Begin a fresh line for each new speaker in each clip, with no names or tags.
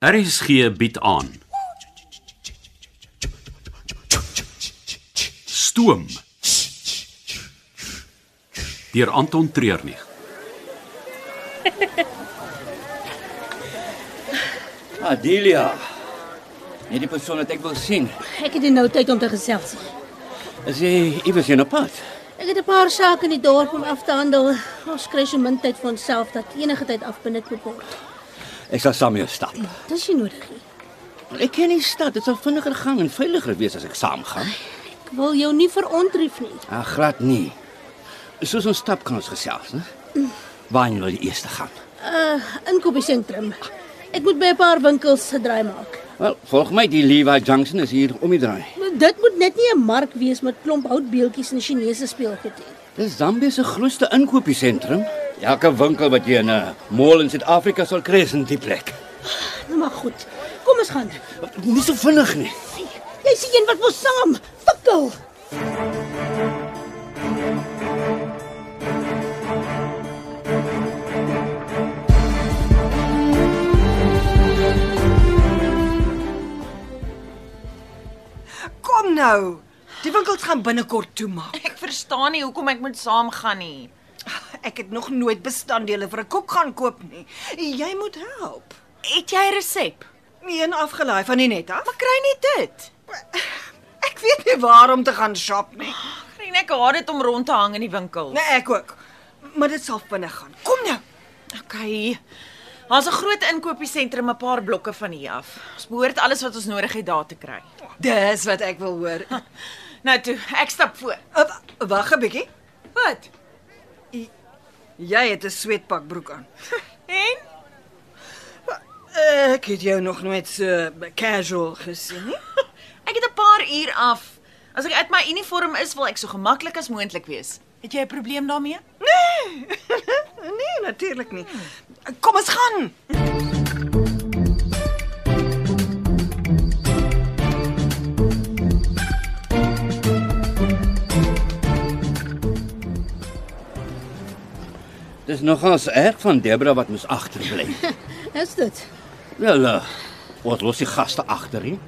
RSG bied aan. Stoom. Deur Anton Treurnig.
Adelia. Hierdie persoon wat ek wil sien.
Ek het nie nou tyd om te gesels nie.
Is eh, hy iewers in 'n pad?
Ek het 'n paar sake in die dorp om af te handel. Ons kry so min tyd vir onsself dat enige tyd afbenut moet word.
Ek sal saam met jou stap.
Dis nie nodig nie.
Ek ken die stad, dit sal vinniger gaan en veiliger wees as ek saam gaan.
Ek wil jou nie verontrief nie.
Ag, glad nie. Soos ons stap kan ons gesels, né? Waarheen wil jy eers gaan?
Uh, inkopiesentrum. Ek moet by 'n paar winkels gedraai maak.
Wel, volg my, die Levi Junction is hier om die draai.
Maar Dit moet net nie 'n mark wees met klomp houtbeeltjies en Chinese speelgoed nie.
Dis Zambië se grootste inkopiesentrum. Elke winkel wat jy in 'n mall in Suid-Afrika sal kry is in die plek.
Nou maar goed. Kom ons gaan.
Nie so vinnig nee. nie.
Jy sien een wat wil saam. Fikkel.
Kom nou. Die winkels gaan binnekort toemaak.
Ek verstaan nie hoekom ek moet saamgaan nie.
Ek het nog nooit bestanddele vir 'n kok gaan koop nie. Jy moet help.
Het jy 'n resep?
Een afgelaai van die net af.
Maar kry nie dit.
Ek weet nie waar om te gaan shop nie.
Grien ek haat dit om rond te hang in die winkel.
Nee, ek ook. Maar dit sal vinnig gaan. Kom nou.
Okay. Daar's 'n groot inkopiesentrum 'n paar blokke van hier af. Ons behoort alles wat ons nodig het daar te kry.
Dis wat ek wil hoor.
Nou toe, ek stap voor.
Uh, wa- Wag 'n bietjie.
Wat?
Jy het 'n sweetpak broek aan.
En
Ek het jou nog nooit so casual gesien nie.
ek het 'n paar uur af. As ek uit my uniform is, wil ek so gemaklik as moontlik wees. Het jy 'n probleem daarmee?
Nee, natuurlik nie. Kom ons gaan.
Dis nogals erg van Debra wat moes agterbly.
Is dit?
Wel, uh, wat los die gaste agter hier?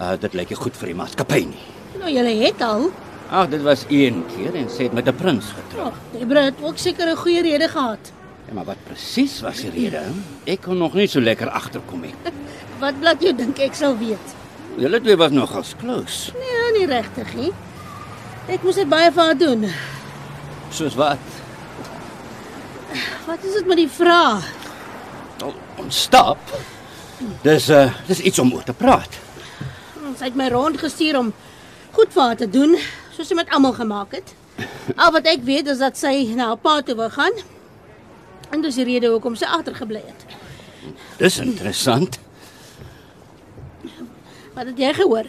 Uh, dit lyk nie goed vir die maatskappy nie.
Nou jy het al.
Ag, dit was een keer en sy het met 'n prins getrou.
Ja, Debra het ook seker 'n goeie rede gehad.
Ja, maar wat presies was die rede? hè? Ek kon nog nie so lekker agterkom nie.
Wat laat jou dink ek sal weet?
Julle twee was nogals close.
Nee, nie regtig nie. Ek moes dit baie vir haar doen.
Soos wat?
Wat is dit met die vrae?
Al ontstap. Dis uh dis iets om oor te praat.
Hm, Sy het my rond gestuur om goed vir haar te doen, soos sy met almal gemaak het. Al wat ek weet is dat sy na haar pa toe wou gaan. En dis die rede hoekom sy agtergebly het.
Dis interessant.
Wat het jy gehoor?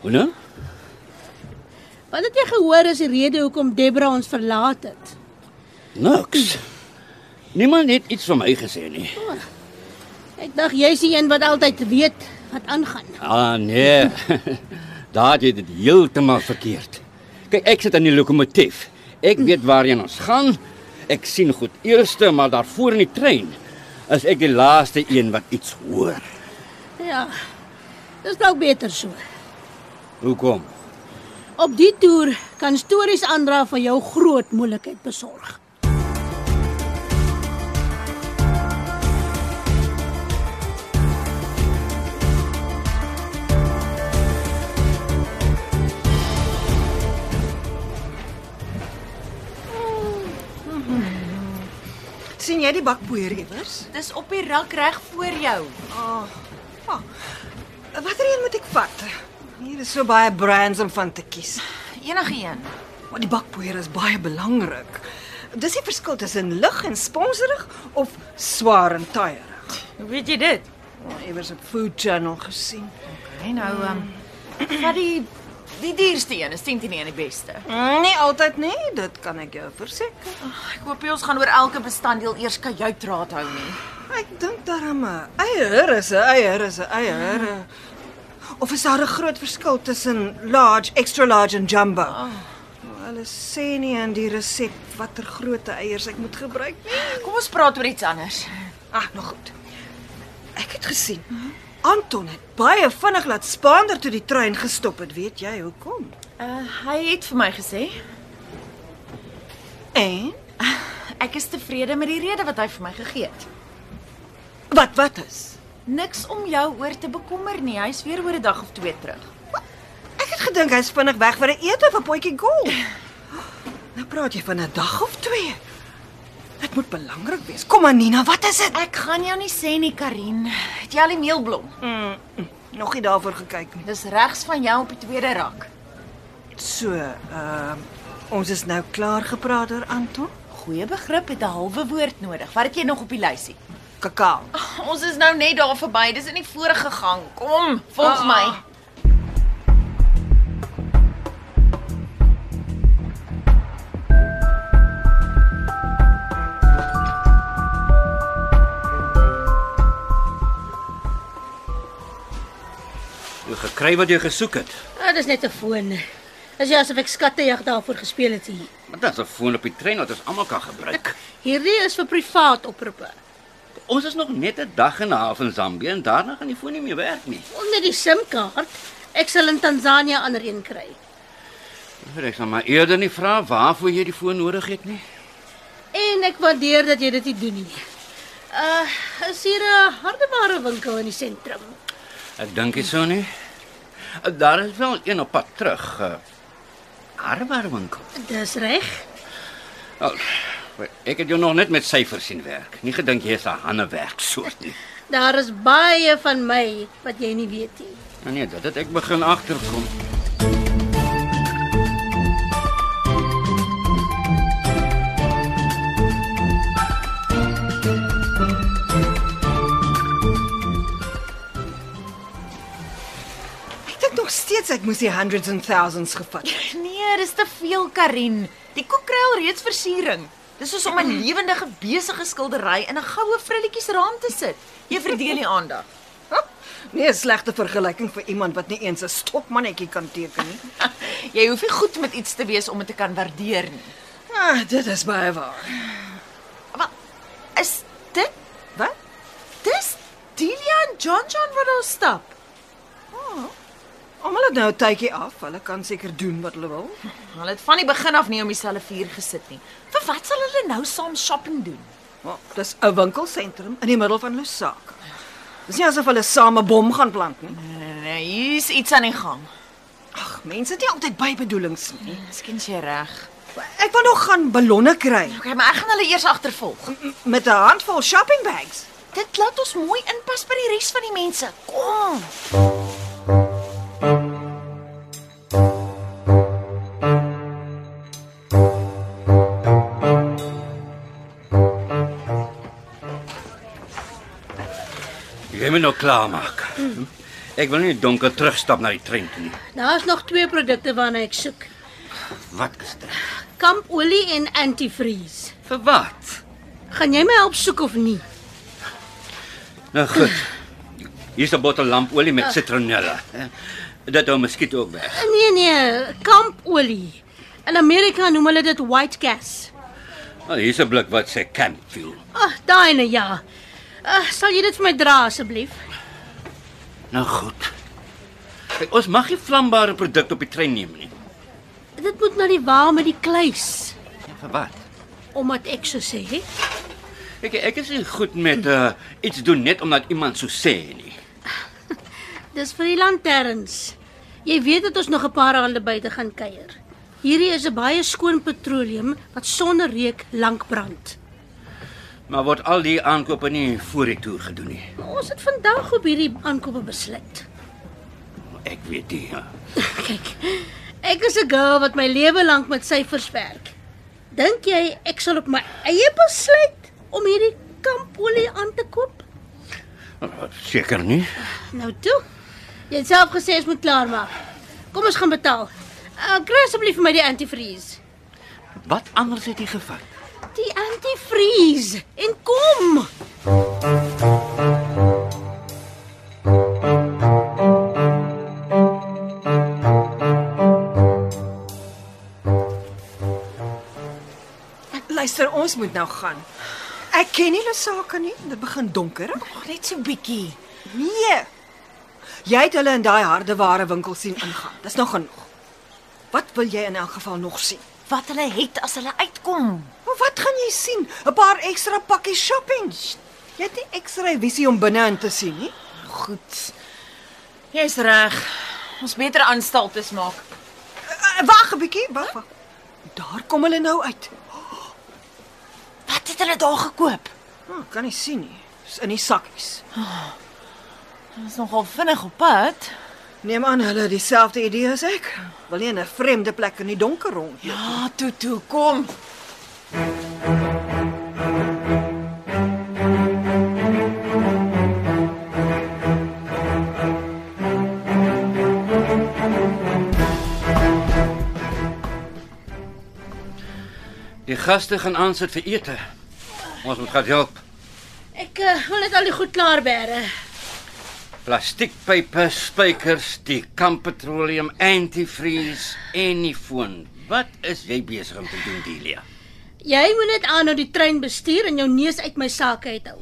Hoe nou?
Wat het jy gehoor is die rede hoekom Debra ons verlaat het?
Niks. Niemand het iets van my gesê nie.
Ek dink jy's die een wat altyd weet wat aangaan.
Ah nee. Daar het jy dit heeltemal verkeerd. Kyk, ek sit in die lokomotief. Ek weet waarheen ons gaan. Ek sien goed eerste, maar daarvoor in die trein is ek die laaste een wat iets hoor.
Ja. Dis dalk beter so.
Hoekom?
Op die toer kan stories aandra van jou groot moeilikheid besorg.
sien jy die bakpoeier iewers?
Dis op die rak reg voor jou.
Watter een moet ek vat? Hier is so baie brands om van te kies.
Enige een.
Maar die bakpoeier is baie belangrik. Dis die verskil tussen lig en sponsorig of swaar en taaierig.
Hoe weet jy dit?
Oh, Iewers op Food Channel gesien.
Hey nou, ehm um, wat die die duurste een is teen teen die beste.
Nee, altyd nie, dit kan ek jou verseker.
Ek hoop nie ons gaan oor elke bestanddeel eers kajuitraad hou nie.
Ek dink daarom 'n eier is 'n eier is 'n eier. Of is daar 'n groot verskil tussen large, extra large en jumbo? Nou, Hulle sê nie in die resep watter grootte eiers ek moet gebruik nie.
Kom ons praat oor iets anders.
Ag, nog goed. Ek het gesien. Anton het baie vinnig laat Spaander toe die trein gestop het, weet jy hoekom?
Uh, hy het vir my gesê
En
ek is tevrede met die rede wat hy vir my gegee het.
wat wat is?
Niks om jou oor te bekommer nie. Hy's weer oor 'n dag of twee terug.
Ek het gedink hy's vinnig weg vir 'n ete vir potjie golf. Nou praat jy van 'n dag of twee. Dit moet belangrik wees. Kom aan Nina, wat is dit?
Ek gaan jou nie sê nie, Karin. Het jy al die meelblom?
Nog nie daarvoor gekyk nie.
Dis regs van jou op die tweede rak.
So, ehm ons is nou klaar gepraat oor Anton.
Goeie begrip het 'n halwe woord nodig. Wat het jy nog op die lysie?
Kakao.
Ons is nou net daar verby. Dis in die vorige gang. Kom, volg my.
Jy gekry wat jy gesoek het.
Ah, dis net 'n foon. As jy asof ek skattejag daarvoor gespeel het hier.
Maar dit is 'n foon op die trein wat ons almal kan gebruik.
Hierdie is vir privaat oproepe.
Ons is nog net 'n dag en 'n half in Zambië en daarna gaan die foon nie meer werk nie.
Onder die SIM-kaart, ek sal in Tansanië ander een kry.
Vir ek sal maar eerder nie vra waarvoor jy die foon nodig het nie.
En ek waardeer dat jy dit nie doen nie. Uh, is hier 'n hardeware winkel in die sentrum?
Ek dink dit sou nie. Daar is wel een op pad terug. eh, Hardwarewinkel.
Dis reg.
Wel, Oh, Ek het jou nog net met syfers sien werk. Nie gedink jy is 'n handewerk soort nie.
Daar is baie van my wat jy nie weet nie.
Nou nee, dat het ek begin agterkom.
Ek dink nog steeds ek moes die hundreds and thousands gevat.
Nee, dis te veel, Karin. Die koek kry al reeds versiering. Dis soos om 'n lewendige besige skildery in 'n goue frilletjiesraam te sit. Jy verdeel die aandag.
Nee, 'n slegte vergelyking vir iemand wat nie eens 'n stokmannetjie kan teken nie.
Jy hoef nie goed met iets te wees om dit te kan waardeer nie.
Ah, dit is baie waar.
Maar is dit
Wat?
dis Delia en John John wat daar stap?
Almal het nou 'n tydjie af. Hulle kan seker doen wat hulle wil.
Hulle het van die begin af nie om dieselfde vuur gesit nie. Vir wat sal hulle nou saam shopping doen?
Maar dis 'n winkelsentrum in die middel van Lusaka. Dis nie asof hulle same bom gaan plant nie.
Nee, nee, nee, hier's iets aan die gang.
Ag, mense het nie altyd bybedoelings nie.
Miskien is jy reg.
Ek wil nog gaan ballonne kry
Okay, maar ek gaan hulle eers agtervolg.
met 'n handvol shopping bags.
Dit laat ons mooi inpas by die res van die mense. Kom.
Jy moet nou klaarmaak. Hm? Ek wil nie donker terugstap na die trein toe nie.
Daar's nog twee produkte waarna ek soek.
Wat is dit?
Kampolie en antifreeze.
Vir wat?
Gaan jy my help soek of nie?
Nou goed. Hier's 'n bottel lampolie met citronella. Eh, Dit hou muskiet ook weg.
Nee nee, kampolie. In Amerika noem hulle dit white gas.
Nou, hier's 'n blik wat sê Campfield.
Ag, oh, daai nee ja. Uh, sal jy dit vir my dra asseblief?
Nou goed. Kijk, ons mag nie vlambare produkte op die trein neem nie.
Dit moet na die wa met die kluis,
Ja, vir wat?
omdat ek so sê.
Ek ek is nie goed met uh, iets doen net omdat iemand so sê nie.
Dis vir die lanterns. Jy weet dat ons nog 'n paar hande buite gaan kuier. Hierdie is 'n baie skoon petroleum wat sonder reuk lank brand.
Maar word al die aankope nie voor die toer gedoen nie.
Ons het vandag op hierdie aankope besluit.
Ek weet nie. ja.
Kyk. Ek is 'n girl wat my lewe lank met syfers werk. Dink jy ek sal op my eie besluit om hierdie kampolie aan te koop?
Nou, Seker nie.
Nou toe. Jy het self gesê ons moet klaarmaak. Kom ons gaan betaal. Uh, kry asseblief vir my die antifreeze.
Wat anders het jy gevat?
Die antifreeze. En kom.
Luister, ons moet nou gaan. Ek ken nie Lusaka nie. Dit begin donker.
Ag, net so bietjie.
Nee. Jy het hulle in daai harde ware winkel sien ingaan. Dis nog genoeg. Wat wil jy in elk geval nog sien?
Wat hulle het as hulle uitkom.
Maar wat gaan jy sien? 'n Paar ekstra pakkies shopping. Jy het nie ekstra visie om binne-in te sien nie.
Goed. Jy's reg. Ons beter aanstaltes maak.
Eh, Wag 'n bietjie, wag, wag. Daar kom hulle nou uit.
Wat het hulle daar gekoop?
Oh, kan nie sien nie. Is in die sakkies.
Ons is nogal vinnig op pad.
Neem aan hulle het dieselfde idee as ek. Wil nie in 'n vreemde plek in die donker rond nie.
Ja, toe toe, kom.
Die gaste gaan aansit vir ete. Ons moet gaan help.
Ek uh, wil net al die goed klaar bære.
Plastiekpype, spykers, die kampetroleum, antifreeze en die foon. Wat is jy besig om te doen, Delia?
Jy moet net aanhou die trein bestuur en jou neus uit my sake uit hou.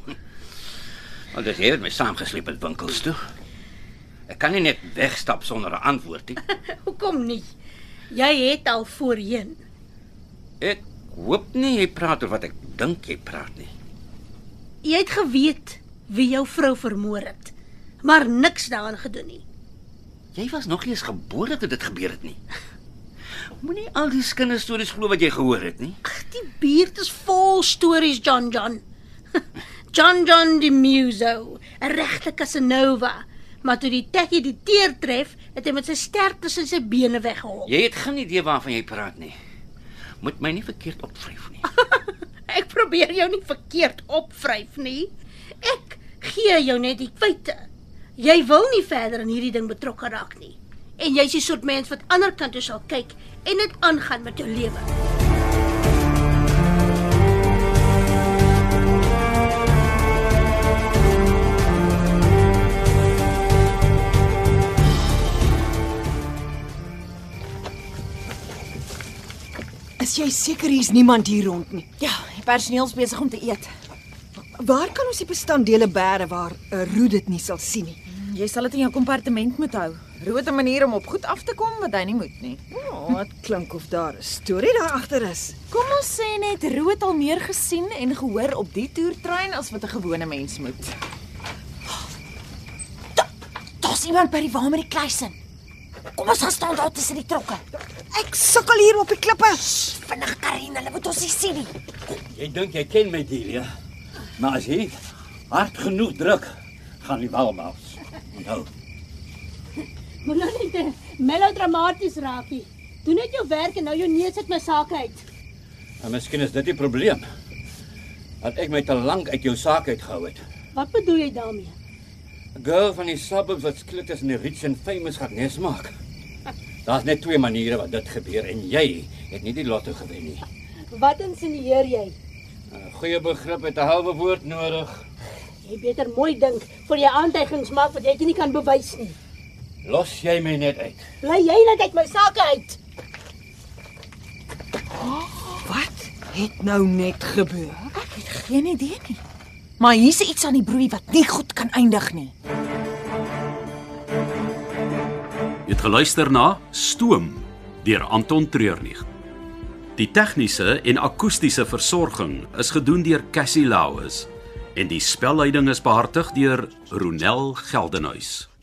Want dit het my saamgesleep in winkels toe. Ek kan nie net wegstap sonder 'n antwoord nie.
Hoekom nie? Jy het al voorheen.
Ek hoop nie jy praat oor wat ek dink jy praat nie.
Jy het geweet wie jou vrou vermoor het, maar niks daaraan gedoen nie.
Jy was nog nie eens gebore toe dit gebeur het nie. Moenie al die kinderstories glo wat jy gehoor het nie.
Ag, die buurt is vol stories, John John. John John die Muso, 'n regte Casanova, maar toe die tekkie die teer tref, het hy met sy ster tussen sy bene weggehol.
Jy het geen idee waarvan jy praat nie. Moet my nie verkeerd opvryf nie.
Ek probeer jou nie verkeerd opvryf nie. Ek gee jou net die feite. Jy wil nie verder in hierdie ding betrokke raak nie. En jy's die soort mens wat ander kant toe sal kyk en dit aangaan met jou lewe.
Is jy seker hier's niemand hier rond nie?
Ja, die personeel's besig om te eet.
Waar kan ons die bestanddele bære waar 'n roet dit nie sal sien nie?
Jy sal dit in jou kompartement moet hou. Roete manier om op goed af te kom wat hy nie moet nie.
Oh,
Ja,
wat klink of daar 'n storie daar agter is.
Kom ons sê net Roet al meer gesien en gehoor op die toertrein as wat 'n gewone mens moet. Da- Daar's iemand by die wa met die kluisin. Kom ons gaan staan daar tussen die trokke.
Ek sukkel hier op die klippe.
Vinnig Karin, hulle moet ons nie sien nie.
Jy dink jy ken my Delia. Maar as jy hard genoeg druk, gaan die wal Nou, maals. Onthou.
Moet nou net melodramaties raak nie. Doen net jou werk en nou jou neus uit my saak uit.
En nou miskien is dit die probleem. Dat ek my te lank uit jou saak uitgehou het.
Wat bedoel jy daarmee?
'n Girl van die suburbs wat skielik tussen die rich en famous gaan nes maak. Daar's net twee maniere wat dit gebeur en jy het nie die lotto gewen nie.
Wat insinueer jy?
'n Goeie begrip het 'n halwe woord nodig.
Jy beter mooi dink voor jy aantuigings maak wat jy nie kan bewys nie.
Los jy my net uit.
Bly jy net uit my saak uit.
Wat het nou net gebeur?
Ek het geen idee nie. Maar hier's iets aan die broei wat nie goed kan eindig nie.
Jy het geluister na Stoom deur Anton Treurnig. Die tegniese en akoestiese versorging is gedoen deur Cassie Lauis en die spelleiding is behartig deur Ronel Geldenhuys.